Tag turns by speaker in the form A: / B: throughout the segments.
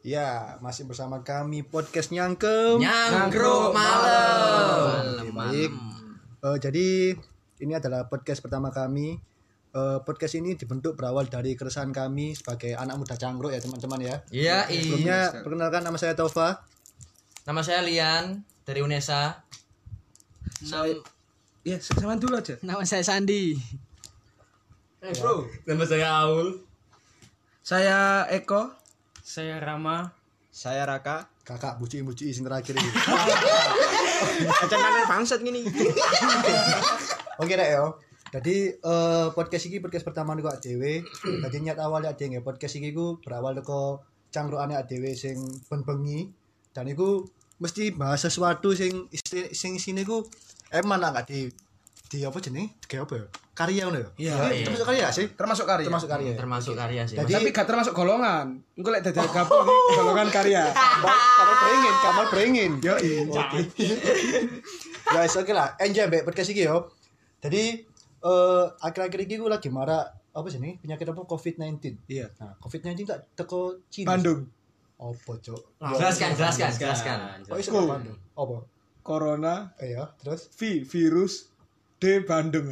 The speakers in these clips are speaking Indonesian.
A: Ya, masih bersama kami podcast Nyangkem.
B: Nyangkruk malam.
A: Oke, baik. Eh, jadi ini adalah podcast pertama kami. Eh, podcast ini dibentuk berawal dari keresahan kami sebagai anak muda cangkruk ya teman-teman ya.
B: Iya, iya.
A: Sebelumnya perkenalkan nama saya Tova.
B: Nama saya Lian dari Unesa.
C: Ya, sama dulu aja.
D: Nama saya Sandi.
B: Nama saya Aul.
C: Saya Eko.
D: Saya Rama.
E: Saya Raka.
A: Kakak buci-buci sing terakhir ini.
E: Kacang bangsat gini.
A: Oke rek yo. Jadi eh, podcast ini podcast pertama niku awake dhewe. Dadi niat awalnya ade nggih podcast iki ku berawal teko cangkrukane awake dhewe sing ben-bengi dan iku mesti bahas sesuatu sing isti- sing sini ku emang lah nggak di di apa jenenge? Kayak apa ya? Karya ngono ya.
C: Iya.
A: Ini Termasuk karya nggak sih.
C: Termasuk karya.
A: Termasuk karya. ya?
B: Termasuk karya sih.
A: Jadi
C: Tapi gak termasuk golongan. Engko lek dadi gabung iki golongan karya.
A: kamar beringin, kamar beringin. Yo, Guys, oke lah. Enjoy baik podcast ini yo. Jadi eh, akhir-akhir ini gue lagi marah apa sih ini penyakit apa COVID-19.
C: Iya.
A: Nah, COVID-19 tak teko Cina.
C: Bandung.
A: Apa, Cok?
B: Jelaskan, jelaskan, jelaskan.
A: Kok iso
C: Oh.
A: Bandung? Apa?
C: Corona
A: Eh ya, terus
C: V virus D Bandung.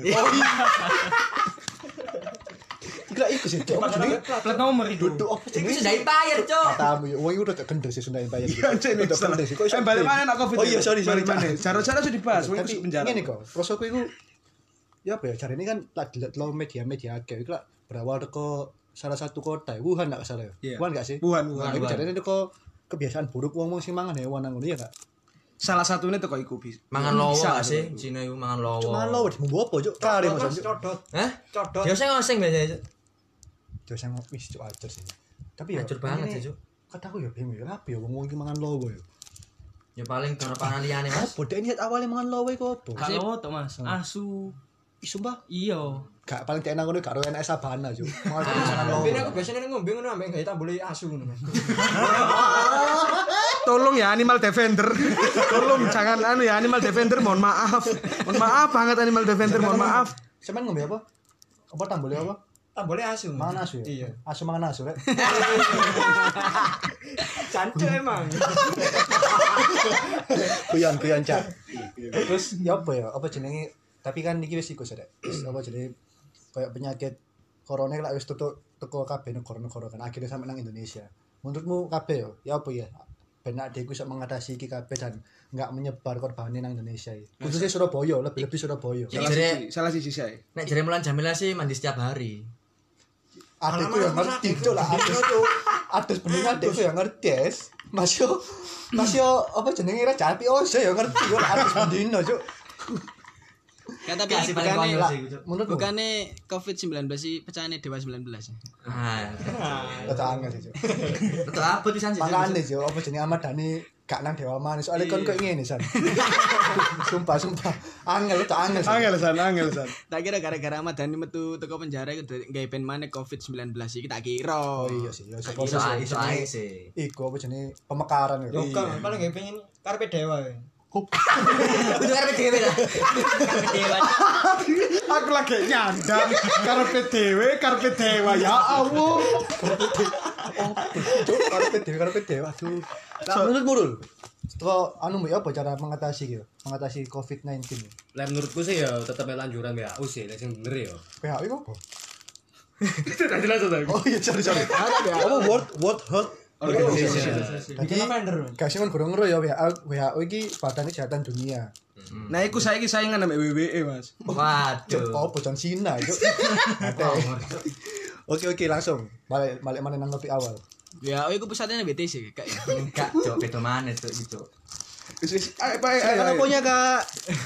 A: enggak ikut sih, Cok. Jadi
D: Plat nomor itu.
A: duduk apa
B: Itu
A: sih?
B: sudah dibayar, Cok.
A: Tamu, wong itu udah kendor sih Sunda Empire.
C: Iya, cek nih.
A: Udah kendor sih. Kok iso
C: Eh, balik
A: kendor?
C: mana nak Covid?
A: Oh iya, sorry, sorry.
C: Balik mana?
A: Cok.
C: Cara-cara sudah dibahas, wong
A: tapi
C: masuk penjara.
A: ngene kok prosoku iku ya apa ya cari ini kan tak delok lo media-media akeh iku lah berawal teko salah satu kota ya, Wuhan enggak salah ya
C: Iya.
A: Wuhan enggak sih
C: Wuhan,
A: nah,
C: Wuhan.
A: iku
B: Wuhan.
A: jarene teko kebiasaan buruk wong-wong sing mangan hewan nang ngono ya enggak
C: Salah satunya tuh kok iku bis.
B: Mangan lowo gak sih? Cina itu mangan lowo.
A: cuma lo wis mbok apa cuk kare mas cuk
E: Codot.
B: Hah?
E: Codot.
B: Ya saya ngoseng biasanya, Cok.
A: jos yang wis cuk ajur sih tapi ya
B: Ajur banget
A: ini-
B: sih, Cuk.
A: kataku ya bingung ya apa ya wong-wong iki mangan lowo ya
B: Ya paling kerepanan liane, Mas.
A: bodoh niat awalnya mangan lowo iku apa
D: Kalau to Mas, asu.
A: Ih, sumpah
D: Iya.
A: gak paling cek nang ngono karo enak sabana cuk mangan mangan lowo
E: Tapi aku biasanya ngombe ngono ambek gawe tambule asu ngono, Mas.
C: Tolong ya Animal Defender. Tolong jangan anu ya Animal Defender, mohon maaf. Mohon maaf banget Animal Defender, mohon maaf.
A: Sampeyan ngombe apa apa tambole apa
E: Tambule asu. Mas.
A: Mangan asu ya?
E: Iya.
A: Asu mangan asu rek.
E: Cancuk emang.
A: Kuyon kuyon cak. Terus ya apa ya? Apa jenenge? Tapi kan iki wis iku sih rek. Wis apa jenenge kayak penyakit corona lah wis tutuk teko kabeh negara-negara kan akhirnya sampe nang Indonesia. Menurutmu kabeh yo ya apa ya? Ben nek iku iso mengatasi iki kabeh dan enggak menyebar korbannya nang Indonesia iki. Khususnya Surabaya, lebih lebih Surabaya.
B: Ya,
C: Salah
B: jadi-
C: siji, salah siji saya.
B: Nek jare Mulan Jamila sih mandi setiap hari.
A: Ada itu yang ya ngerti itu lah. Ada itu. Ada sebenarnya ada itu yang ya ngerti es. Mas yo, mas yo apa jenenge ra capi ose yo ya ngerti yo lah artis bendino cuk.
D: Kata
B: Gak sih, paling
D: tapi bukannya
B: konyol
A: Lah,
B: sih, Cuk.
A: menurutmu?
D: bukannya COVID-19 sih pecahannya Dewa 19 ya.
B: Ah.
A: Tetep angel sih cuk.
B: Betul abot pisan sih. Cuk.
A: Makane sih apa jenenge Ahmad Dhani gak nang Dewa Manis. Soale kon kok ngene san. Sumpah sumpah. Angel tetep angel. San.
C: Angel san, angel san.
D: Tak kira gara-gara Ahmad Dhani metu teko penjara iku gawe ben maneh COVID-19 iki tak kira.
A: Oh iya sih. Yo sapa
B: Iso
A: sih.
B: iso ae sih.
A: Iku apa jenenge pemekaran
E: Yo
A: yo.
E: kan paling gawe pengen karepe dewa. ya.
B: Kudu karepe
D: gitu,
B: dhewe lah. Karepe dhewe.
C: Aku lagi nyandang karpe dewe, karpe dewa ya Allah.
A: Cuk, karpet dewe karpet dewe. Aduh. Lah menurutmu Rul? Kok anu ya apa cara mengatasi gitu? Mengatasi COVID-19. ini?
F: Lah menurutku sih ya tetep lanjuran WHO sih, lek sing bener ya.
A: PHI itu apa?
F: Tidak jelas ta.
A: Oh iya, sorry sorry. Apa World World Health
E: Jadi
A: Jadi
E: vendor.
A: gak sih kan kurang ngeru ya WHO WHO ini Badan Kesehatan Dunia.
C: Nah, iku saiki saingan ambek WWE, E, Mas.
B: Waduh.
A: Oh, bocoran Cina itu. Oke oke langsung balik balik mana nang topik awal.
D: Ya, oh, iku pusatnya nang BTC kak ya.
B: Enggak, Cuk. Beda mana, Cuk, itu.
C: Wis wis ayo ayo ayo.
A: Karena punya kak.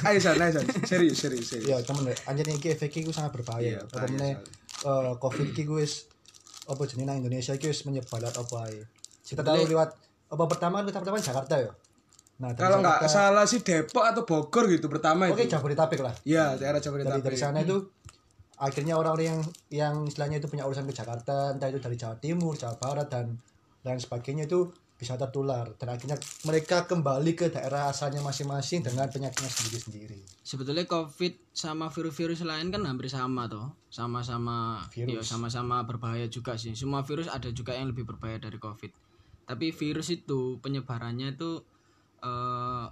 C: Ayo san, ayo san. Serius, serius, serius.
A: Ya temen deh, anjir ini efeknya gue sangat berbahaya.
C: Iya,
A: Apa
C: bahaya
A: meneh eh, covid ki gue apa jenis nang Indonesia ki wis menyebar lewat apa ae. Kita tahu lewat apa pertama kan kita pertama Jakarta ya. Nah dari
C: Kalau nggak
A: Jakarta-
C: salah sih Depok atau Bogor gitu pertama
A: Oke
C: itu.
A: Jabodetabek lah.
C: Ya, daerah
A: dari dari
C: Jabodetabek.
A: sana itu
D: Hmm.
A: akhirnya orang-orang yang yang istilahnya itu punya urusan ke Jakarta entah itu dari Jawa Timur Jawa Barat dan lain sebagainya itu bisa tertular dan akhirnya mereka kembali ke daerah asalnya masing-masing dengan penyakitnya sendiri-sendiri Nah,
D: Sebetulnya COVID sama virus-virus lain kan hampir sama toh. Sama-sama ya,
A: Virus.
D: iya, sama-sama berbahaya juga sih. Semua virus ada juga yang lebih berbahaya dari COVID. tapi virus itu penyebarannya itu eh,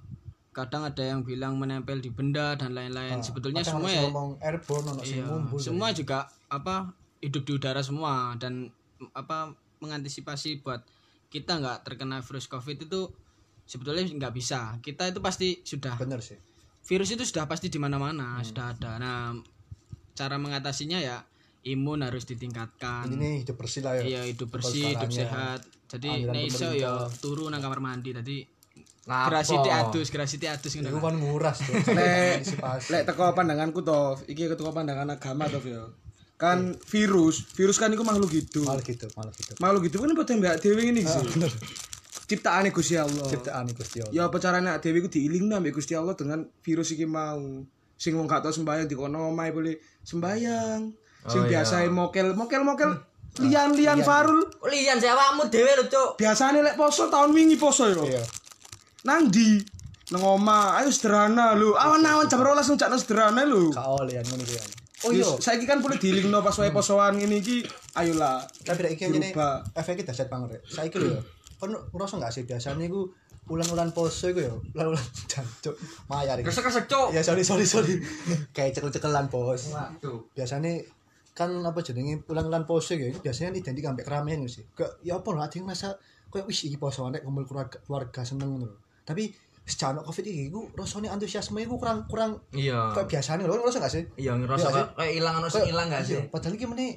D: kadang ada yang bilang menempel di benda dan lain-lain sebetulnya
A: Ah, Kadang
D: semua
A: ada sing
D: ya
A: ngomong airborne ono sing
D: Iya,
A: ngumbul.
D: semua juga apa hidup di udara semua dan m- apa mengantisipasi buat kita nggak terkena virus covid itu sebetulnya nggak bisa kita itu pasti sudah
A: bener sih.
D: virus itu sudah pasti di mana-mana sudah ada nah cara mengatasinya ya imun harus ditingkatkan
A: Ini hidup bersih lah ya.
D: iya hidup bersih hidup sehat jadi
A: Aliran
D: nek iso ya turu nang kamar mandi tadi gerasi diadus gerasi diadus
A: Iku
D: ngono
A: kan nguras tuh.
C: Lek,
A: Antisipasi.
C: lek teko pandanganku toh, iki teko pandangan agama toh ya. Kan virus, virus kan iku makhluk hidup.
A: Malah gitu, malah gitu.
C: Makhluk hidup kan buat mbak dewi ini sih. Ciptaane Gusti Allah.
A: Ciptaan Gusti Allah.
C: Ya apa carane awake dhewe iku diilingno ambek Gusti Allah dengan virus iki mau. Sing wong gak tau sembayang dikono omahe boleh sembayang. Sing biasae mokel, mokel mokel lian-lian farul.
B: Lian Oh, sih awakmu dhewe lho, Cuk.
C: Biasane lek poso tahun wingi poso yo.
A: Iya.
C: Nang ndi? Nang omah, ayo sederhana lho. Awan-awan jam 12 njakno sederhana lho.
A: Kau lihat ngono iki kan.
C: Oh iya. Saiki kan boleh diilingno pas wae posoan ngene iki. Ayolah.
A: tapi rek iki ngene
C: Dirubah.
A: efeknya dahsyat banget rek saiki lho ya kon ngerasa nggak sih biasanya iku ulan-ulan poso iku ya ulan-ulan jancuk maya rek
B: Kesek-kesek, Cuk.
A: ya sorry sorry sorry kayak cekel-cekelan bos
B: Waduh.
A: biasanya kan apa jenenge ulan-ulan poso ya biasanya identik ambek keramaian gitu sih kayak ya apa lho ada yang masa kayak wis iki poso nek kumpul keluarga, keluarga seneng ngono lho tapi sejak ono covid iki iku rasane antusiasme iku kurang kurang
B: Iya.
A: kayak biasanya lho ngerasa nggak sih
B: Iya ngerasa
A: Iya,
B: kayak kayak ilang ono sing
A: Kayak-
B: ilang gak sih?
A: iya, padahal iki meneh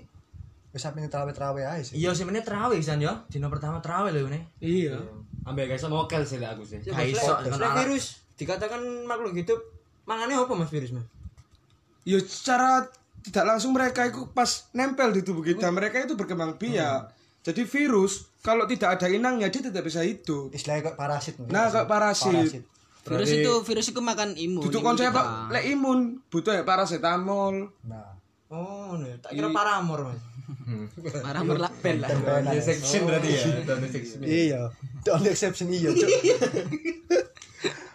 A: wis sampe trawe-trawe ae sih
B: Iya sih meneh terawih san yo. Dino pertama terawih lho ini.
C: Iya.
F: Ambek guys mokel sih lek aku sih.
B: Gak
E: Mas,
B: iso
E: lek-
B: kan
E: lek
B: anak.
E: virus dikatakan makhluk hidup mangane apa mas virus mas
C: ya secara tidak langsung mereka itu pas nempel di tubuh kita mereka itu berkembang biak jadi virus kalau tidak ada inangnya dia tidak bisa hidup
A: istilahnya kayak parasit nih.
C: nah kalau parasit
D: virus itu virus itu makan imun
C: butuh
D: imun
C: konsep
D: kita.
C: apa lek imun butuh ya parasetamol
A: nah
E: oh no, tak kira paramor mas
D: marah merlak ben lah
F: Section berarti ya. Section.
A: iya the only exception iya Cuk.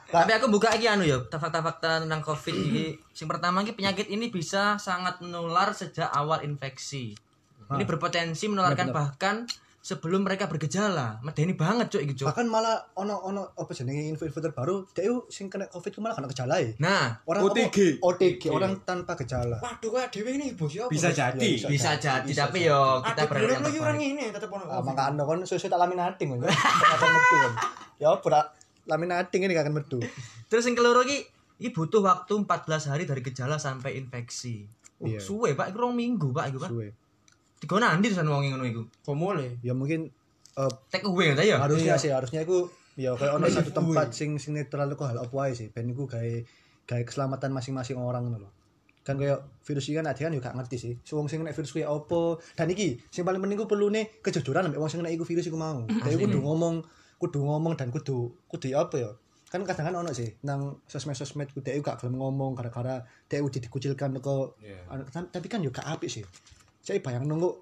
B: Tapi aku buka iki anu ya, fakta-fakta tentang Covid iki. Sing pertama iki penyakit ini bisa sangat menular sejak awal infeksi. Ini berpotensi menularkan bahkan sebelum mereka bergejala. Medeni banget cuk iki cuk.
A: bahkan malah ono ono apa jenenge info-info terbaru dia itu sing kena covid itu malah kena gejala ya
B: Nah,
A: orang apa?
C: OTG.
A: OTG orang tanpa gejala
E: waduh kok dewe ini ibu siapa
F: Bisa jadi.
B: bisa jadi tapi yo kita
E: Aduh,
B: berharap
E: belum
B: yang
E: lagi
B: terbaik.
E: orang ini tetap orang
A: Ah, makanya kan susu tak laminating kan ternyata metu kan ya pura laminating ini gak akan metu
B: Terus yang keloro iki iki butuh waktu 14 hari dari gejala sampai infeksi. Oh,
A: Iya.
B: suwe Pak, iku rong minggu Pak iku Pak.
A: suwe
B: Digono andi terusan wong ngono iku.
E: komole
A: ya mungkin eh,
B: Take away ta ya?
A: harusnya sih harusnya aku ya kayak ono satu tempat sing sing netral kok hal apa ae sih ben iku gawe gawe keselamatan masing-masing orang ngono lho kan kayak virus ini kan ada kan juga ngerti sih so, wong sing kena virus kuwi opo dan iki sing paling penting ku perlune kejujuran ambek wong sing kena iku virus iku mau dhewe kudu ngomong kudu ngomong dan kudu kudu apa ya kan kadang kan ono sih nang sosmed-sosmed ku dhewe gak gelem ngomong gara-gara dhewe dikucilkan kok
F: Iya.
A: tapi kan yo gak apik sih saya bayang nunggu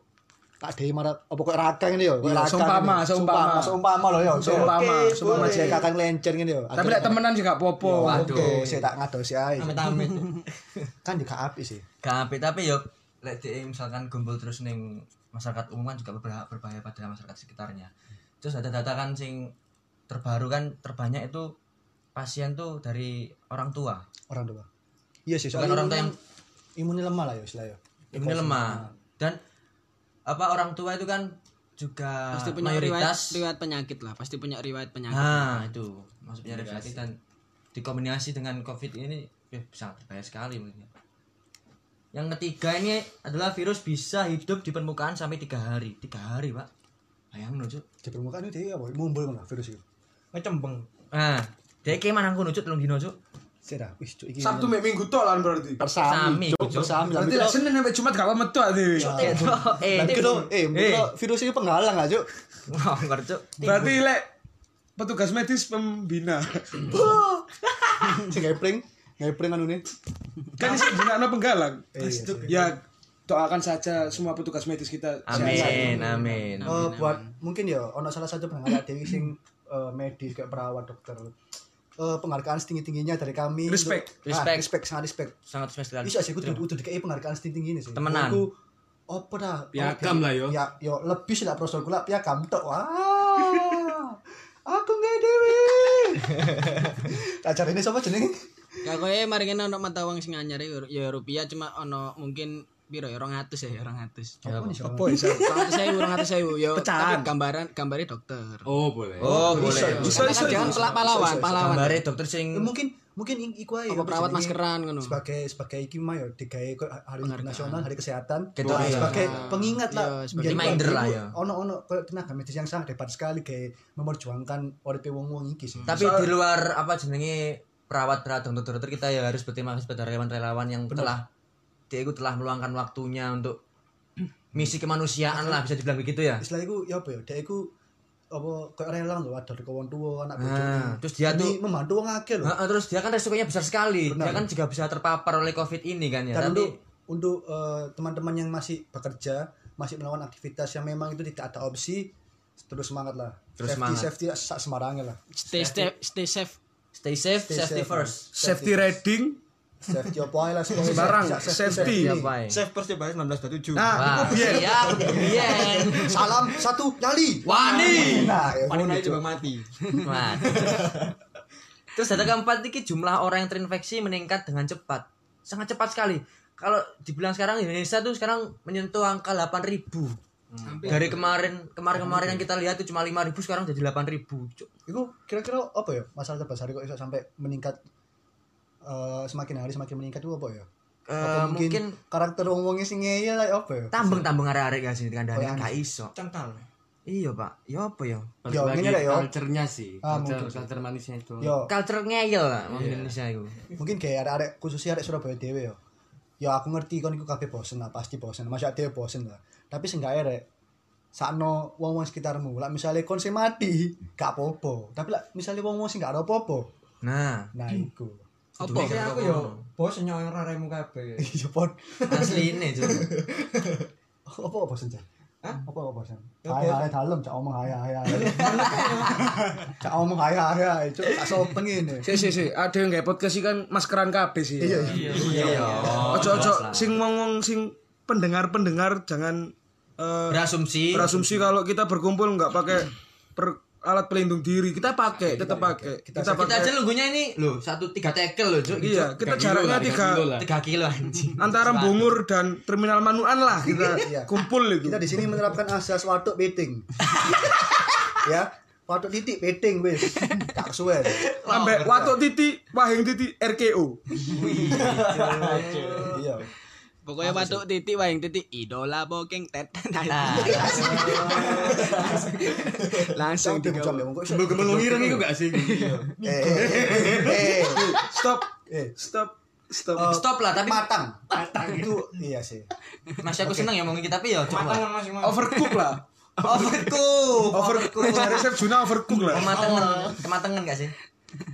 A: Pak Dewi marah apa kok rakan ini yo? Kok
C: Iya,
A: rakan
C: seumpama,
A: ini.
C: seumpama.
A: seumpama loh yo.
C: seumpama
A: Seumpama jek kakak ngelencen ngene yo.
C: tapi lek temenan juga popo
A: Aduh, saya tak ngadosi ae.
B: Amit-amit.
A: Kan juga apik sih.
B: Gampit tapi yo lek dhek misalkan gumpul terus ning masyarakat umum kan juga berbahaya, berbahaya pada masyarakat sekitarnya. Terus ada data kan sing terbaru kan terbanyak itu pasien tuh dari orang tua.
A: Orang tua. Iya sih,
B: Bukan
A: soalnya
B: orang tua yang
A: imunnya lemah lah yo istilah yo.
B: imunnya lemah. Dan apa orang tua itu kan juga
D: pasti punya riwayat
B: mayoritas
D: riwayat penyakit lah pasti punya riwayat penyakit
B: Nah, itu maksudnya refleksi dan dikombinasi dengan Covid ini ya, sangat berbahaya sekali menurutnya. Yang ketiga ini adalah virus bisa hidup di permukaan sampai tiga hari. Tiga hari, Pak. Bayangin lho, Cuk.
A: Di permukaan itu dia apa? Mumbul mana virus itu?
E: ngecembeng
B: Nah, dia kayak mana aku nucut telung dino, Cuk.
A: Sira, wis cuk iki.
C: sabtu mek minggu tok lan berarti
A: persami,
B: Persami,
A: cuk,
B: Cuk.
A: persami. Lah,
C: berarti lek senin sampai jumat gak apa metu dhewe
B: Ya, Cuk. Eh,
A: Tapi lo, eh, mungkin lo virus itu penghalang gak cuk?
B: ngongkar, Cuk.
C: berarti lek petugas medis pembina
A: Sing ngepring, ngepring anu nih.
C: kan iso jenakno penggalang
A: Pasti.
C: ya doakan saja semua petugas medis kita
B: Amin, amin.
A: Eh, buat mungkin ya ono salah satu penghargaan Dewi sing eh, medis kayak perawat dokter Eh, penghargaan setinggi tingginya dari kami
C: Respect.
A: Untuk- Ah,
B: Respect.
A: respect sangat respect
B: Sangat spesial.
A: bisa sih kudu kudu dikei penghargaan setinggi tinggi ini sih
B: Temenan.
A: Aku, apa dah
F: Piagam lah, yo.
A: ya yo lebih sih lah prosedur kula piagam tok wah Acara ini siapa jenenge?
D: Kayak Ya, kowe mari kene ono mata uang sing anyar iku, ya rupiah cuma ono mungkin piro ya 200 ya 200.
A: Apa nih,
C: Apa ya?
D: 200.000 200.000 ya
C: Pecahan.
D: tapi gambaran gambare dokter.
F: Oh, boleh.
B: Oh, boleh.
A: Bisa,
D: Karena kan jangan pelak pahlawan, pahlawan.
B: Gambare dokter sing
A: Ya, mungkin mungkin ing- iku ae
D: Apa
A: apa
D: perawat
A: jenenge?
D: maskeran ngono.
B: Hmm.
A: sebagai sebagai iki mah ya digawe kok hari nasional hari kesehatan
B: Gitu,
A: Nah,
B: iya.
A: sebagai pengingat lah
D: Iya, sebagai
A: Jadi,
B: reminder lah,
A: iku
B: ya.
A: ono ono koyo tenaga medis yang sangat hebat sekali kayak memperjuangkan uripe wong-wong iki sih
B: Tapi di luar apa jenenge perawat perawat dokter dokter kita ya harus berterima kasih pada relawan-relawan yang telah dia itu telah meluangkan waktunya untuk misi kemanusiaan lah bisa dibilang begitu ya.
A: istilah iku ya apa ya dia iku apa koyo rela lho ada ke wong tuwa anak
B: Nah,
A: bojone
B: terus dia
A: Demi
B: tuh
A: membantu wong akeh lho
B: Heeh, terus dia kan resikonya besar sekali.
A: Benar.
B: Dia kan juga bisa terpapar oleh Covid ini kan ya.
A: dan
B: Tapi
A: untuk untuk eh, teman-teman yang masih bekerja masih melawan aktivitas yang memang itu tidak ada opsi terus semangat lah
B: Terus
A: safety
B: semangat.
A: safety sak sembarangnya lah
D: Stay stay stay safe.
B: stay safe,
A: Stay
B: safety
A: safe,
B: first.
C: Safety riding.
A: safety apa ae lah pokoknya
C: Sembarang,
A: safety,
C: safety.
B: Iya, Pak.
E: Save first ya 1927.
B: Wah,
C: Nah,
B: iya, aku biyen.
A: salam satu nyali
B: Wani.
A: nah ya
E: Panen aja
A: ngono,
E: juga mati.
B: Wah. Terus data keempat ini jumlah orang yang terinfeksi meningkat dengan cepat. Sangat cepat sekali. Kalau dibilang sekarang Indonesia tuh sekarang menyentuh angka 8000. Dari kemarin kemarin-kemarin yang kita lihat tuh cuma 5000 sekarang jadi 8000. Cuk.
A: itu kira-kira apa ya masalah terbesar kok iso sampai meningkat eh, semakin hari semakin meningkat itu apa ya
B: Eh,
A: apa
B: mungkin,
A: karakter wong-wong sing ngeyel lah apa ya
B: tambeng-tambeng arek-arek gak sih dengan
A: Oh,
B: dari
A: iya.
B: gak iso.
E: Cangkal.
B: Iya, Pak. Ya apa ya?
A: Yo, ini lah, yo.
F: culture-nya sih.
A: Ah,
F: culture,
A: mungkin.
F: culture manisnya itu.
A: yo
B: Culture ngeyel lah wong Indonesia itu.
A: mungkin kayak arek-arek khususnya arek Surabaya dhewe yo. Ya aku ngerti kon iku kabeh bosen lah, pasti bosen. Masa dhewe bosen lah. Tapi seenggaknya rek sakno wong-wong sekitarmu. Lah misale kon sing mati, gak apa-apa. Tapi lah misale wong-wong sing gak ada apa-apa,
B: Nah,
A: nah iku.
D: Apa?
E: Sih aku yo bosen nyoyong raremu kabeh.
A: Ya pod.
B: asli ini Cuk.
A: Apa bosen cah? Hah? Apa apa bosen?
E: Ya,
A: Hai
E: bosen.
A: hai dalem cak omong hai hai hai. Cak omong hai hai hai, cuk tak sopeng ini.
C: Si si si, ada yang nggak podcast sih kan maskeran kabeh sih.
A: Iya,
C: iya. Ojo ojo sing ngomong sing pendengar-pendengar jangan eh,
B: Berasumsi.
C: berasumsi kalau kita berkumpul nggak pakai per- alat pelindung diri. Kita pakai, tetap pakai. Kita,
B: Kita
C: pakai.
B: aja lunggunya ini loh, satu tiga tekel loh, Cuk.
C: Iya, kita jaraknya tiga
B: tiga kilo anjing
C: antara Bungur dan Terminal Manuan lah
A: Iya.
C: kita kumpul itu.
A: Kita di sini menerapkan asas watuk beting. ya, watuk titik beting wis. Gak suwe.
C: Sampai watuk titik, wahing titik RKO.
A: Iya.
D: Pokoknya watuk titik wayang titik idola bokeng tet. Nah. Langsung
A: Langsung
D: tiga.
A: dijawab ya, monggo. Sebelum
F: Melungireng itu gak sih?
A: Eh, eh, eh,
C: Stop,
A: eh.
C: stop, stop.
A: Eh,
B: stop lah tapi
A: matang. Matang itu iya sih.
B: masih aku seneng ya ngomongin kita, tapi ya coba
E: Tangan masih mau.
C: Overcook lah.
B: overku
C: Overcook. Resep Juna overcook
B: Oh,
C: lah.
B: kematangan kematangan gak sih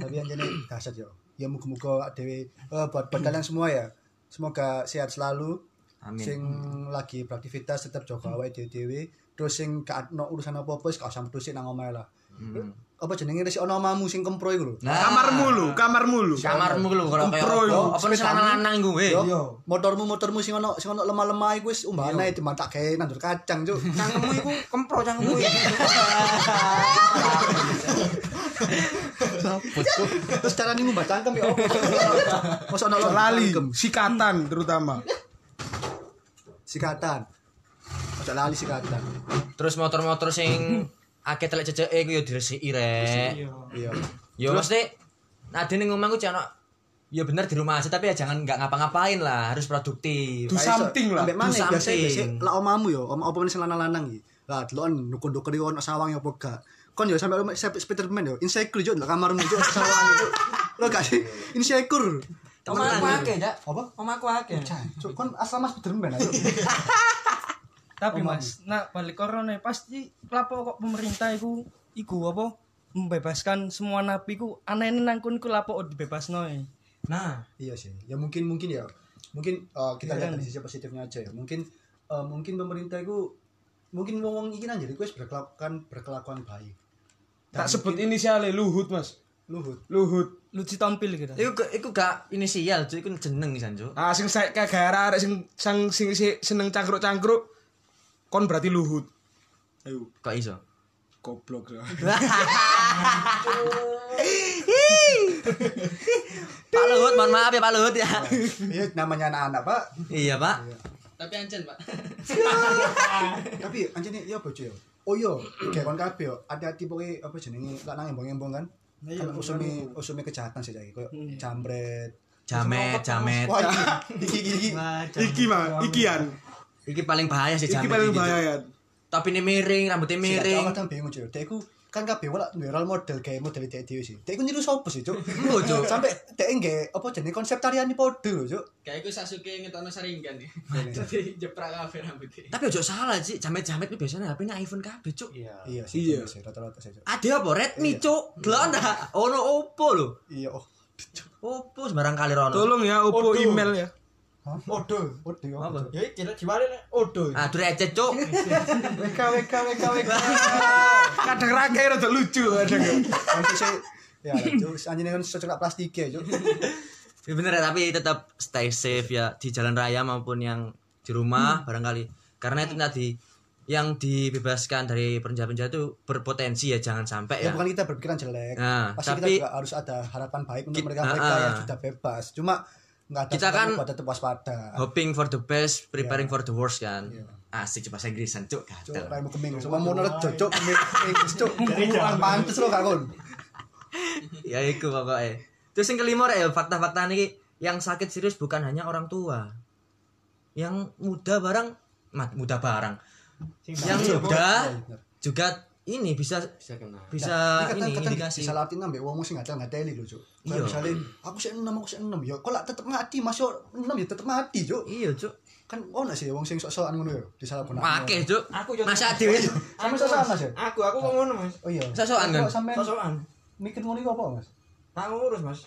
A: Tapi yang jadi dahsyat ya. Ya muga-muga awak dhewe eh, buat buat kalian semua ya. Semoga sehat selalu.
B: Amin.
A: Sing lagi beraktivitas tetap jaga awake dhewe. Terus sing gak ono urusan apa-apa wis gak usah mlebu nang omahe lah. Apa jenenge resik ono omamu sing kempro iku lho.
B: nah,
C: Kamarmu lu, kamarmu lu.
B: kamarmu lu kalau kayak
C: Pro,
B: apa
C: yo.
B: apa nih celana lanang gue
A: Yo, motormu motormu sing ono sing ono lemah-lemah iku wis umbane cuma tak gawe nandur kacang, Cuk.
E: Cangkemmu iku kempro cangkemmu.
D: Iya.
A: Terus cara nih mbak cangkem ya opo? Masa ono
C: Lali,
A: cangkem?
C: sikatan terutama.
A: Sikatan. Masa lali sikatan.
B: terus motor-motor sing akeh telek ceceke iku yo diresiki rek
A: Iya.
B: yo nah, mesti nade ning omahku cek ono Ya bener di rumah aja tapi ya jangan nggak ngapa-ngapain lah harus produktif.
C: Do something lah.
A: Ambek mana
B: Do
A: ya, biasa biasa
B: something.
A: lah omamu yo, om opo sing lanang-lanang iki. Lah delon dukun-dukun iki ono sawang ya apa gak. Kon yo sampe rumah sampe Spiderman yo, insecure yo ndelok kamarmu yo sawang yo. Lo gak sih? Insecure.
E: Omahku akeh, Cak.
A: Apa?
E: Omahku akeh.
A: Cuk, kon asrama Spiderman ayo.
G: Tapi Mas, nah balik corona pasti lapo kok pemerintah iku iku apa membebaskan semua napi ku aneh nangkunku lapo e. dibebas noe.
E: Nah,
A: Iya sih. Ya mungkin mungkin ya. Mungkin eh, kita lihat dari sisi positifnya aja ya. Mungkin eh, mungkin pemerintah itu mungkin wong-wong iki nang jadi kuis berkelakuan kan berkelakuan baik.
C: Tak sebut inisialnya Luhut, Mas.
A: Luhut.
C: Luhut.
G: Lucu tampil gitu.
B: Iku iku gak inisial, cuy, iku jeneng pisan, cuy.
C: Ah sing saya kayak gara arek sing sang sing si- seneng cangkruk-cangkruk kon berarti Luhut.
B: Kok iso?
C: goblok ya.
B: Pak Luhut, mohon maaf ya Pak Luhut ya.
A: Iya namanya anak-anak pak.
B: iya Pak.
D: Tapi ancen, Pak.
A: Tapi anjir nih ya bojo ya. Oh iya, kayak kon kabeh yo. Hati-hati pokoke apa jenenge lanang embong-embong kan. Kan usume usume kejahatan sih saiki koyo jambret.
B: Jamet, jamet.
A: Wah, iki iki iki.
C: Iki mah, ikian.
B: Iki paling bahaya sih
C: Iki
B: jamet.
C: paling
B: iki.
C: bahaya.
B: Tapi ini miring, rambutnya miring.
A: Aku kadang bingung cuy. Dek iku kan kabeh wala duwe role model kayak model dek dhewe sih. Dek iku niru sapa sih, Cuk?
B: Embo, Cuk.
A: Sampai dek nggih apa jenenge konsep tarian padha lho, Cuk.
D: Kayak iku Sasuke ngetokno saringan ya. Jadi jeprak kabeh rambutnya.
B: Tapi ojo salah sih, jamet-jamet itu biasanya HP-nya iPhone kabeh, Cuk.
A: Iya sih,
C: Iya.
A: bener sih, rata-rata sih, Cuk.
B: Ada apa Redmi, Cuk? Delok ndak? Ono Oppo lho.
A: Iya, oh.
B: Oppo sembarang kali rono.
C: Tolong ya, opo email ya.
A: Hah? Odo, odo apa?
B: Apa?
E: Ya iki lek diwale nek odo.
B: Ah, dure ecet, Cuk.
A: WK WK WK WK.
C: Kadang rakai rada lucu kadang.
A: Nanti saya ya, Cuk, anjir kan cocok plastik ya, Cuk.
B: Ya bener ya, tapi tetap stay safe ya di jalan raya maupun yang di
A: Hmm.
B: rumah barangkali. Karena itu tadi yang dibebaskan dari penjara-penjara itu berpotensi ya jangan sampai
A: ya
B: ya.
A: bukan kita berpikiran jelek
B: Nah,
A: pasti
B: tapi-
A: kita juga harus ada harapan baik untuk
B: Ki-
A: mereka
B: Ah,
A: mereka
B: ah.
A: yang sudah bebas cuma nggak ada kita
B: Kita kan- Oh.
A: buat tetap waspada
B: Hoping for the best, preparing for the worst kan. Asik coba saya Inggrisan, Cuk.
A: Ya. cuk
B: Gatel.
A: kayak mau keming semua mau nurut cuk cuk keming cuk kurang pantes lo kakun
B: ya itu pokoknya terus yang kelima Rek, ya fakta-fakta ini yang sakit serius bukan hanya orang tua yang muda barang mat muda barang yang muda juga ini bisa
F: Bisa kena.
A: Nah,
B: bisa ini indikasi
A: bisa latih nambah uangmu sih nggak nggak teli lo cuk Kayak
B: Iya.
A: misalnya aku sih enam aku sih enam ya kok lah tetap mati masih enam ya tetap mati cuk
B: iya cuk
A: kan oh nasi uang sing sok-sokan ngono ya disalahgunakan.
B: Oke cuk
E: Aku yo-
B: masa dewi
A: sama sok-sokan mas ya
E: Aku aku kok ngono Mas.
A: oh iya
B: Sok-sokan, kan?
A: Kok sampean
E: Sosokan.
A: mikir ngono iku apa mas
E: Tak ngurus Mas.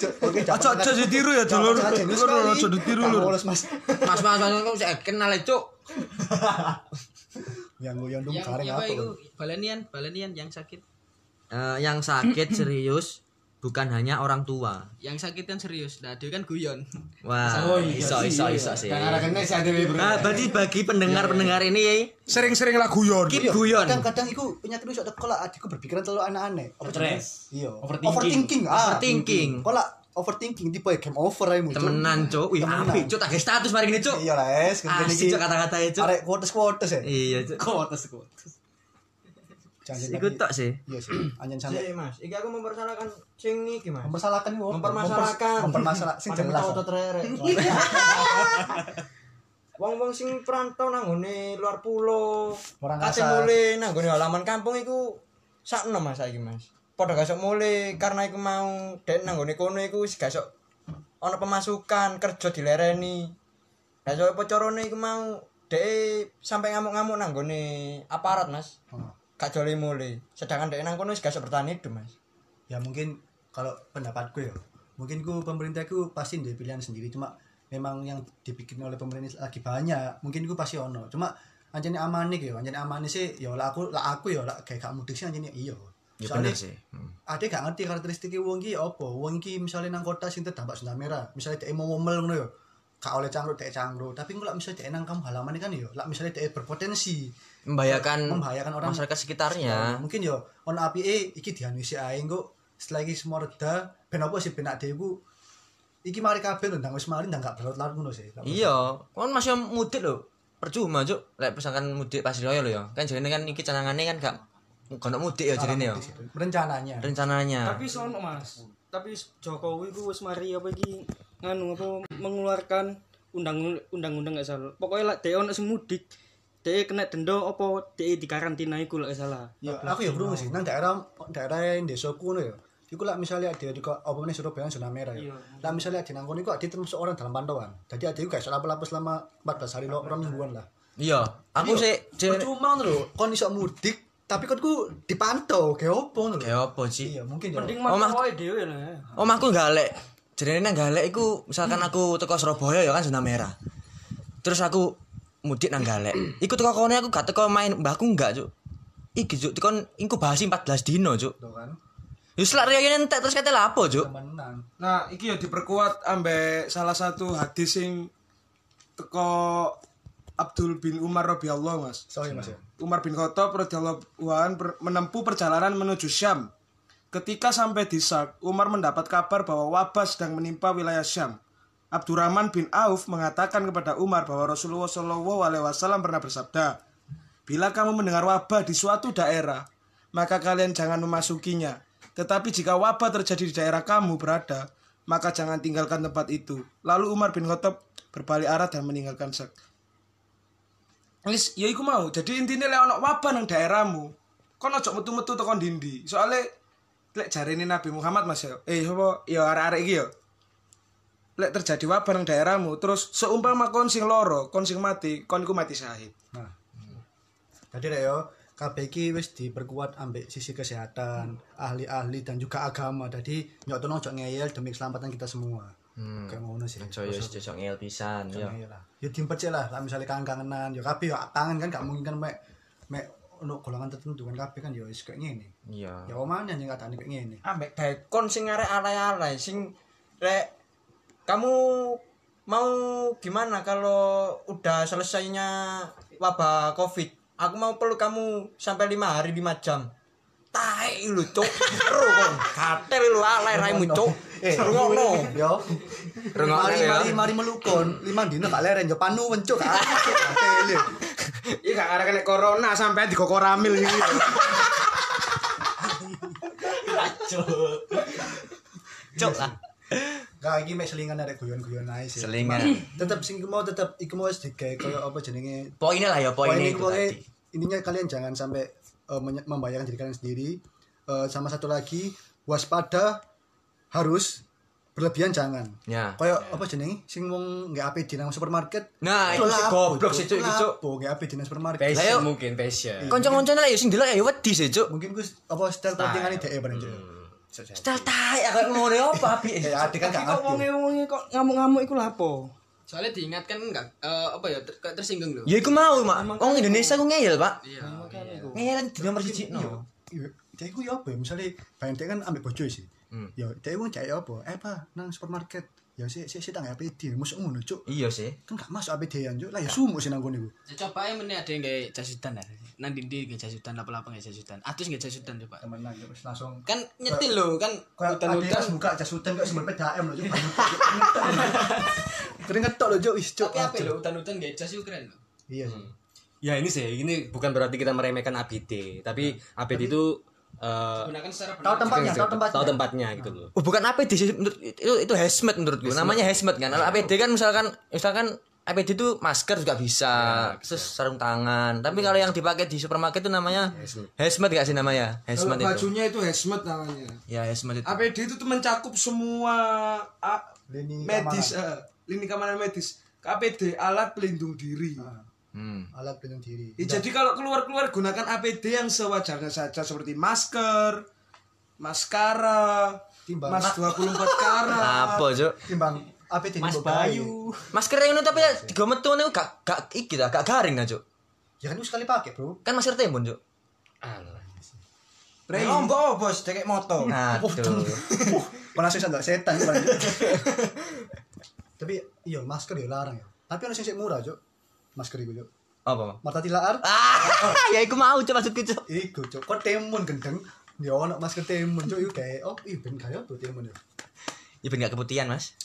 A: Cuk, oke
C: Aja aja ditiru ya dulur. Dulur aja ditiru lur.
A: Lurus mas.
B: mas mas mas kamu saya kenal ya cuk
A: Yang gue yang dong
D: Yang
A: kareng
D: apa
A: apa?
D: iku? Balenian, balenian yang sakit.
B: Eh, yang sakit serius bukan hanya orang tua
D: Yang sakit kan serius. Nah, dia kan guyon.
B: wah iso iso iso sih
F: Karena kena sih ada yang
B: nah berarti bagi pendengar pendengar ini ya
C: Sering-sering lah guyon.
A: Iya,
B: keep guyon
A: Kadang-kadang iku penyakit iso teko lah adikku berpikiran terlalu aneh-aneh. Apa jenenge? Iya.
F: Overthinking.
A: Overthinking. ah.
B: Overthinking.
A: Kok lah overthinking tipe game over ae muncul.
B: temenan cuk wih
A: Temenan.
B: apik cuk tak kayak status mari gini cuk
A: Iya lah es, kene
B: Asik, Cuk, kata-katanya, Cuk.
A: Arek kuotes-kuotes ya.
B: iya cuk
F: Kok atas kok.
A: Jangan
B: iku
A: lagi-
B: tok sih
A: Iya sih. Anjen sampe
E: Sik Mas, iki aku mempersalahkan sing iki Mas.
A: mempersalahkan iku. apa?
E: Mempermasalahkan.
A: Mempers- Mempermasalah oh, sing
E: Paling
A: jelas.
E: tau tetrerek. Wong-wong sing perantau nang ngone luar pulau.
A: Orang
E: Kate
A: kasar.
E: mule nang ngone halaman kampung iku sakno Mas saiki Mas. Padha gasok mule karena iku mau dek nang ngone kono iku wis gasok ana pemasukan kerja dilereni. Lah sopo carane iku mau dek sampai ngamuk-ngamuk nang ngone aparat Mas.
A: Hmm.
E: Gak jole mule. Sedangkan dek nang kono wis gasok bertahan hidup Mas.
A: ya mungkin kalau pendapatku ya mungkin ku pemerintahku pasti ada pilihan sendiri cuma memang yang dibikin oleh pemerintah lagi banyak mungkin ku pasti ono cuma anjani amane gitu anjani amane sih ya lah aku lah aku ya lah kayak gak mudik sih anjani iya
B: ya
A: Soalnya
B: bener sih
A: ade gak ngerti karakteristik wong ki ya apa wong ki misalnya nang kota sing terdampak zona merah misalnya dia mau ngomel ngono ya gak oleh cangkruk dia cangkruk tapi kalau misalnya dia nang kamu halaman kan ya lah misalnya dia berpotensi
B: membahayakan
A: Membahayakan orang.
B: masyarakat sekitarnya
A: mungkin yo ono api eh iki dianusi ae engko setelah iki semua reda ben apa sih ben ade iku iki mari kabeh lho ndang wis mari ndang gak berlarut-larut ngono sih
B: iya kan masih mudik lho percuma cuk lek misalkan mudik pas royo lho ya kan jadi kan iki canangannya kan gak kono mudik ya jadi ya
A: rencananya
E: Ah.
B: rencananya
G: Tapi sono Mas. Tapi Jokowi ku wis mari apa iki nganu apa mengeluarkan undang undang-undang gak salah. Pokoknya lah dhek ono sing mudik, dhek kena denda apa dhek dikarantina iku lek gak salah.
A: ya aku ya krungu sih nang daerah daerah desaku ngono ya iku lah misalnya ada di apa meneh Surabaya zona merah ya lah misalnya ada nang kono iku ade termasuk orang dalam pantauan jadi ade iku gak iso lapo-lapo selama 14 hari lo orang mingguan lah
B: iya aku sih jadi
A: cuma lho kon iso mudik tapi kon ku dipantau ge opo ngono lho
B: kayak apa sih
A: iya mungkin ya
G: Mending
B: Oh,
G: mah
B: Mas.
G: kowe dhewe lah.
B: omahku galek jenenge nang galek iku misalkan aku teko Surabaya ya kan zona merah terus aku mudik nang galek iku teko kone aku gak teko main mbahku enggak cuk iki cuk teko inkubasi 14 dino cuk
A: Tuh kan
B: Yus lak riyo entek terus kate lapo cuk
A: temenan
C: Nah, iki ya diperkuat ambek salah satu hadis sing teko Abdul bin Umar radhiyallahu Mas.
A: Sorry Mas ya.
C: Umar bin Khattab radhiyallahu anhu per- menempuh perjalanan menuju Syam. Ketika sampai di Sark, Umar mendapat kabar bahwa wabah sedang menimpa wilayah Syam. Abdurrahman bin Auf mengatakan kepada Umar bahwa Rasulullah Shallallahu Alaihi Wasallam pernah bersabda, "Bila kamu mendengar wabah di suatu daerah, maka kalian jangan memasukinya. Tetapi jika wabah terjadi di daerah kamu berada, maka jangan tinggalkan tempat itu." Lalu Umar bin Khattab berbalik arah dan meninggalkan Sark. Wis, ya iku mau. Jadi intine lek ana wabah nang daerahmu, kon ojo metu-metu tekan dindi. Soale lek jarene Nabi Muhammad Mas ya. Eh, apa ya arek-arek iki ya. Lek terjadi wabah nang daerahmu, terus seumpama kon sing loro, kon sing mati, kon iku mati syahid.
A: Nah. Jadi lah yo, kabeh iki wis diperkuat ambek sisi kesehatan, ahli-ahli dan juga agama. Jadi nyotono ojo ngeyel demi keselamatan kita semua.
B: Hmm.
A: Kayak ngono sih.
B: Coy wis cocok ngel pisan ya.
A: Iya lah. Ya dimpecik lah, lah misalnya kangen-kangenan, ya kabeh ya kangen kan gak mungkin kan mek mek ono golongan tertentu kan kabeh kan ya wis kayak ngene.
B: Iya.
A: Ya omane yang katane kayak ngene.
E: ambek daikon sing arek alay-alay sing rek kamu mau gimana kalau udah selesainya wabah covid aku mau perlu kamu sampai lima hari lima jam tae lu cuk seru kon katel lu alay raimu cuk
A: Eh,
E: ngono
A: Yo.
B: Rungokno
A: mari,
B: ya.
A: mari, mari melukon. Lima dino gak leren yo panu wencuk gak asik, gak tele.
C: Iki Iya, gak arek kena corona sampean digokok ramil iki.
E: cuk lah
A: Gak iki mek selingan ada guyon-guyon ae sih.
B: Selingan.
A: tetap sing iku mau tetap iku mau wis digawe koyo apa jenenge
B: Poinnya lah ya
A: poin
B: poinnya itu
A: iku
F: eh.
B: tadi.
A: wae intinya kalian jangan sampai eh, menye- membayangkan diri kalian sendiri Eh, sama satu lagi waspada harus berlebihan jangan
B: Ya.
A: koyo apa jenenge sing wong nggak APD nang supermarket
B: Nah, itu sih goblok sih, Cuk, itu, Cuk.
A: oh nggak APD nang supermarket
F: Passion
B: Ayo.
F: mungkin passion.
B: Kanca-kancane lah ya sing delok ya wedi sih, Cuk.
A: mungkin Gus apa style clothingane dhek bareng Cuk.
B: Stel tae aku ngono ya apa abi.
A: ya adik kan gak
G: kok wonge
A: ngerti
G: wonge kok ngamuk-ngamuk iku lha apa
D: Soalnya diingatkan enggak eh, apa ya ter- kayak tersinggung loh.
B: Ya iku mau, Mak. Wong Indonesia ku ngeyel, Pak.
D: Iya.
B: Ngeyelan di nomor 1 no.
A: Iya, dhek iku ya apa ya misale bayang dhek kan ambek bojo sih ya dhek wong cek apa eh apa nang supermarket ya sik sik sik tak nggak APD mosok ngono Cuk.
B: Iya sih.
A: kan gak masuk APD an Cuk. lah ya sumuk sih nang kono iku
D: Ya, Coba ya meneh ada yang kayak jasutan ya. Nang dindi kayak jasutan apa-apa kayak jasutan. Atus kayak jasutan coba.
A: temenan terus ya, langsung
D: Kan nyetil loh kan
A: kayak
D: hutan-hutan.
A: adidas buka jas hutan kayak sumber PDAM loh Cuk. sering ngetok loh Cuk. Wis, Cuk.
D: Tapi apa loh hutan-hutan kayak jas itu keren loh.
A: iya sih
F: Ya ini sih, ini bukan berarti kita meremehkan ABD, tapi ABD itu eh,
D: Gunakan secara
A: tahu
D: benar.
A: tempatnya tahu tempatnya Hmm.
F: tahu tempatnya gitu loh.
B: Oh, bukan APD sih menurut itu itu hazmat menurutku. Namanya hazmat kan. Kalau APD kan misalkan misalkan APD itu masker juga Iya, bisa, terus sarung tangan. Tapi kalau yang dipakai di supermarket itu namanya hazmat gak sih namanya? Hazmat itu.
C: Bajunya itu hazmat namanya.
B: Ya hazmat itu.
C: APD itu tuh mencakup semua ah,
A: Lini
C: medis, eh, lini keamanan medis. APD alat pelindung diri.
B: Hmm.
A: alat pelindung diri
C: Ya, jadi kalau keluar-keluar gunakan APD yang sewajarnya saja seperti masker, maskara,
A: Timbang.
C: mas 24 karat.
B: Apa, Cuk?
A: timbang APD Mas Bayu
B: Masker yang ini tapi ya tiga metu ini gak gak iki dah, gak garing nah, Cuk.
A: ya kan itu sekali pakai bro
B: Kan masker timbun, Cuk.
E: Rek ombo bos dekek moto
B: Nah, tuh.
A: Uh, malah sing sandal setan Cuk, paling. tapi iya masker ya larang ya tapi ono sing sik murah Cuk. masker iku Cuk.
B: Apa? Mak?
A: Marta Tilaar
B: Ah, ya iku mau Cuk maksudku, Cuk.
A: Iku cok, kok timun gendeng? Ya ono masker timun cok, iku kayak oh iya ben kaya apa timun ya?
B: Ya ben gak keputihan, Mas.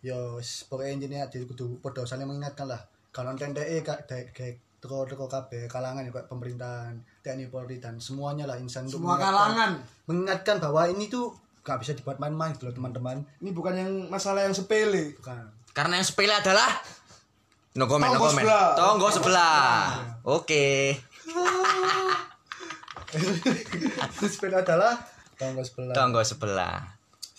A: Ya wis, pokoknya intinya dia kudu padha saling mengingatkan lah. Kalau tendeke eh, kak kayak teko-teko kabeh kalangan ya kayak pemerintahan, TNI Polri dan semuanya lah insan untuk
C: Semua
A: mengingatkan-
C: kalangan.
A: mengingatkan bahwa ini tuh gak bisa dibuat main-main gitu loh teman-teman.
C: Ini bukan yang masalah yang sepele.
A: Bukan.
B: Karena yang sepele adalah no comment, no comment.
C: Tonggo sebelah.
B: Tonggo sebelah. Oke.
A: sepeda adalah tangga sebelah.
B: Tonggo sebelah.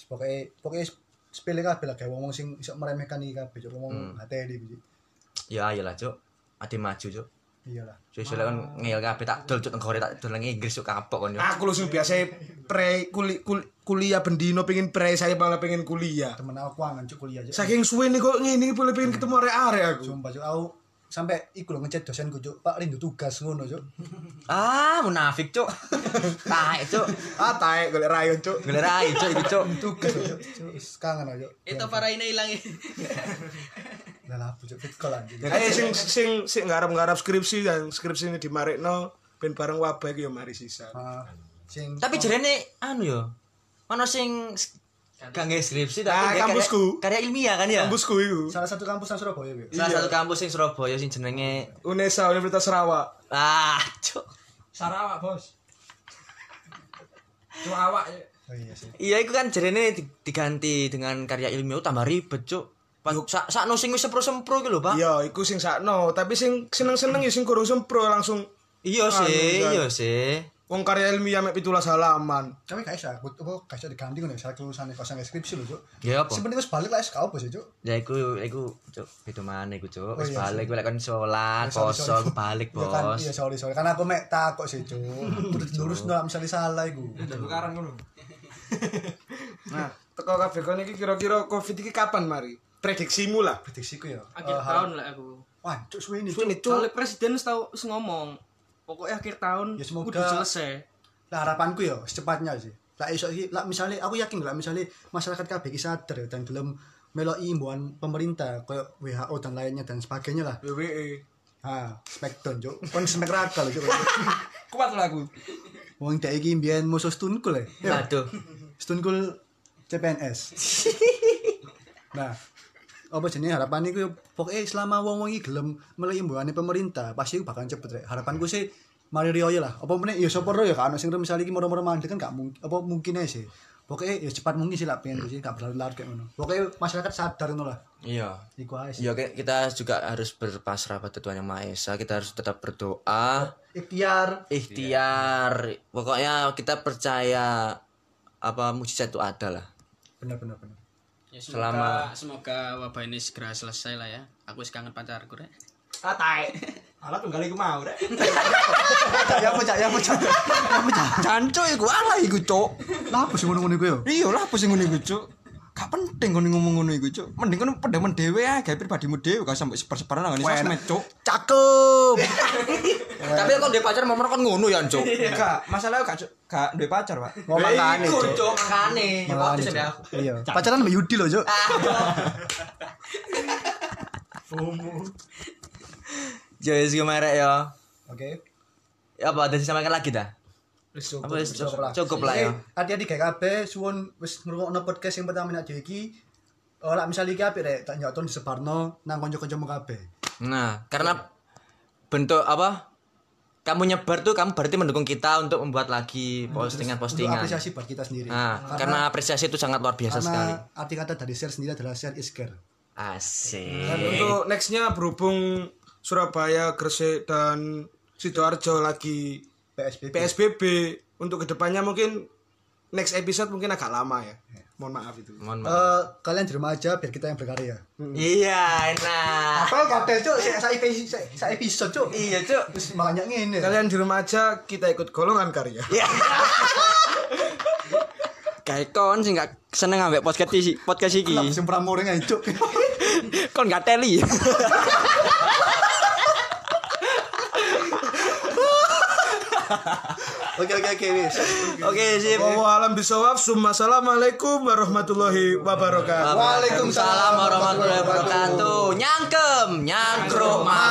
A: Pokoknya pokoknya sepele kabeh lah kayak wong-wong sing iso meremehkan iki kabeh cok
B: Hmm.
A: wong ngateli iki.
B: Ya ayolah, Cuk. Ade maju, Cuk.
A: Iyalah.
B: Sesuk kan ngeyel kabeh tak dol Cuk tenggore tak dol nang Inggris Cuk kapok kon yo.
C: Aku lu biasa pre kuli, kul- kuliah bendino pengen pre saya malah pengen kuliah.
A: Temen aku kangen cok kuliah cok.
C: Saking suwe nih kok ngene boleh pengen ketemu arek-arek aku.
A: Sumpah cuk aku sampai iku lho ngechat dosenku cuk, Pak rindu tugas ngono cuk.
B: Ah, munafik, Cuk. Taek, Cuk.
C: Ah taek golek rayon cuk.
B: Gelerai, Cuk, iku, Cuk.
A: Tugas cuk. Cuk, wis Kangen aku cuk.
D: Itu parainnya hilang ya.
A: Lah lah pucuk pitkol anjing.
C: Ayo Ya, sing sing sing ngarep-ngarep skripsi dan skripsi ini dimarekno ben bareng wabah iki yo mari sisa.
A: Ah, Sing
B: Tapi jarene anu ya. Ono sing s- gak nge skripsi tapi
C: Ah,
B: dia karya-
C: kampusku.
B: Karya ilmiah kan ya.
C: Kampusku iku.
A: salah satu kampus nang Surabaya gitu.
C: Iya.
B: Salah satu kampus sing Surabaya sing jenenge
C: Unesa Universitas Sarawak.
B: ah cuk.
E: Sarawak, Bos. Cuk awak. ya.
A: Oh iya sih.
B: Iya iku kan jarene di- diganti dengan karya ilmiah oh, tambah ribet cuk. Pas sak sakno sing wis sempro-sempro iki lho, Pak.
C: Iya, iku sing sakno, tapi sing seneng-seneng ya sing kurang sempro langsung
B: Iya sih,
C: Anu,
B: iya sih.
C: wong karya ilmiah mek 17 halaman.
A: Tapi kayak saya, aku tuh kayak saya diganti kan, saya kelulusan kosong skripsi loh, Cuk.
B: Ya apa?
A: Sebenarnya wis balik lah SK apa sih, Cuk?
B: Ya iku iku cuk beda mana iku cuk. Wis
A: iya,
B: balik kowe lek kon sholat,
A: Sorry,
B: poso
A: sorry.
B: aku balik,
A: Iya kan,
B: Bos.
A: Iya, sorry, sorry. Karena aku mek takok sih, Cuk. Terus lurus ndak misalnya salah iku.
E: Dulu karang ngono.
C: Nah, teko kabeh kon iki kira-kira Covid iki kapan mari? Prediksimu lah.
A: Prediksiku ya. eh,
G: akhir tahun lah aku
A: Wah, Cuk suwe ini, Cuk.
C: Ini cuk,
G: soalnya presiden tahu ngomong pokoknya akhir tahun
A: Ya, semoga-
G: udah selesai
A: Lah harapanku ya secepatnya sih. Lah iso iki lah misale aku yakin lah misale masyarakat kabeh iki sadar ya, dan gelem melok imbauan pemerintah kayak WHO dan lainnya dan sebagainya lah.
E: E.
C: WWE.
A: Ha, smackdown, Cuk. Kon smack raka lho, Cuk.
E: Kuat lah aku.
A: Wong dek iki mbiyen musuh Stone Cold ya.
B: Aduh.
A: Stone Cold CPNS. nah, apa jenis harapan iku ya, pokoknya selama wong wong iki gelem melu imbuhane pemerintah pasti iku bakalan cepet rek. Harapanku sih mari riyo lah. Apa meneh ya sapa ro ya kan sing misalnya iki moro-moro mandek kan gak mungkin apa mungkin ae sih. Pokoknya ya cepat mungkin sih lah pengen sih gak berlarut-larut kayak ngono. Pokoknya masyarakat sadar ngono lah.
B: Iya.
A: Iku ae sih.
B: Ya ki- kita juga harus berpasrah pada Tuhan Yang Maha Esa. Kita harus tetap berdoa,
A: Ikhtiar
B: ikhtiar. Pokoknya kita percaya apa mujizat itu ada lah.
A: bener-bener bener.
D: Ya,
B: Selama-
D: semoga, semoga wabah ini segera selesai lah ya. Aku wis kangen pacarku rek.
E: Atai. Ala tunggal iku mau rek.
A: Ya apa cak ya apa cak. Ya apa cak.
E: Jancuk iku ala iku, Cuk.
A: Lah apa sih ngono-ngono iku ya?
E: Iya lah apa sing ngono iku, Cuk. Gak penting kono ngomong ngono iku, Cuk. Mending kono pendemen dhewe ae, gawe pribadimu dhewe gak sampe sebar-sebaran nang ngene sosmed, Cuk.
B: Cakep. Tapi kalau dia pacar mau kon ngono ya, Cuk.
E: Enggak, masalah gak Cuk. gak duwe pacar, Pak.
A: Ngomong kane.
B: Cuk, makane.
A: Melani, Cuk. Iya. Pacaran sama Yudi loh, Cuk.
B: Ya wis gimana Rek, ya.
A: Oke.
B: Ya apa ada yang disampaikan lagi dah? Apa wis cukup, cukup lah ya.
A: Oke, Hati-hati kayak kabeh suwun wis ngrungokno podcast yang pertama nak dhewe iki. Oh, lak misale iki apik rek, tak nyoton disebarno nang kanca-kancamu kabeh.
B: Nah, karena bentuk apa? Kamu nyebar tuh kamu berarti mendukung kita untuk membuat lagi
A: Hmm, Untuk
B: postingan-postingan.
A: apresiasi buat kita sendiri.
B: Nah, karena apresiasi itu sangat luar biasa sekali.
A: karena arti kata dari share sendiri adalah share is care.
B: Asik.
C: Dan
B: Eh.
C: untuk nextnya berhubung Surabaya, Gresik dan sidoarjo lagi
A: PSBB.
C: PSBB untuk kedepannya mungkin next episode mungkin agak lama ya. Mohon maaf itu.
B: Mohon maaf.
A: Eh, kalian di rumah aja biar kita yang berkarya.
B: Iya, enak.
A: Apa kabeh, Cuk? Saya saya episode, Cuk.
B: Iya, Cuk.
A: Terus makanya ngene.
C: Kalian di rumah aja kita ikut golongan karya.
E: Kayak kon sing gak seneng ambek podcast iki, podcast iki.
A: Lah, sing pramureng ae, Cuk.
E: Kon gak teli.
A: Oke, oke, oke, wis.
B: Oke, sip.
C: Wallahu alam bisawab. Summa assalamualaikum warahmatullahi wabarakatuh.
B: Waalaikumsalam warahmatullahi wabarakatuh. Nyangkem, nyangkruk, mah.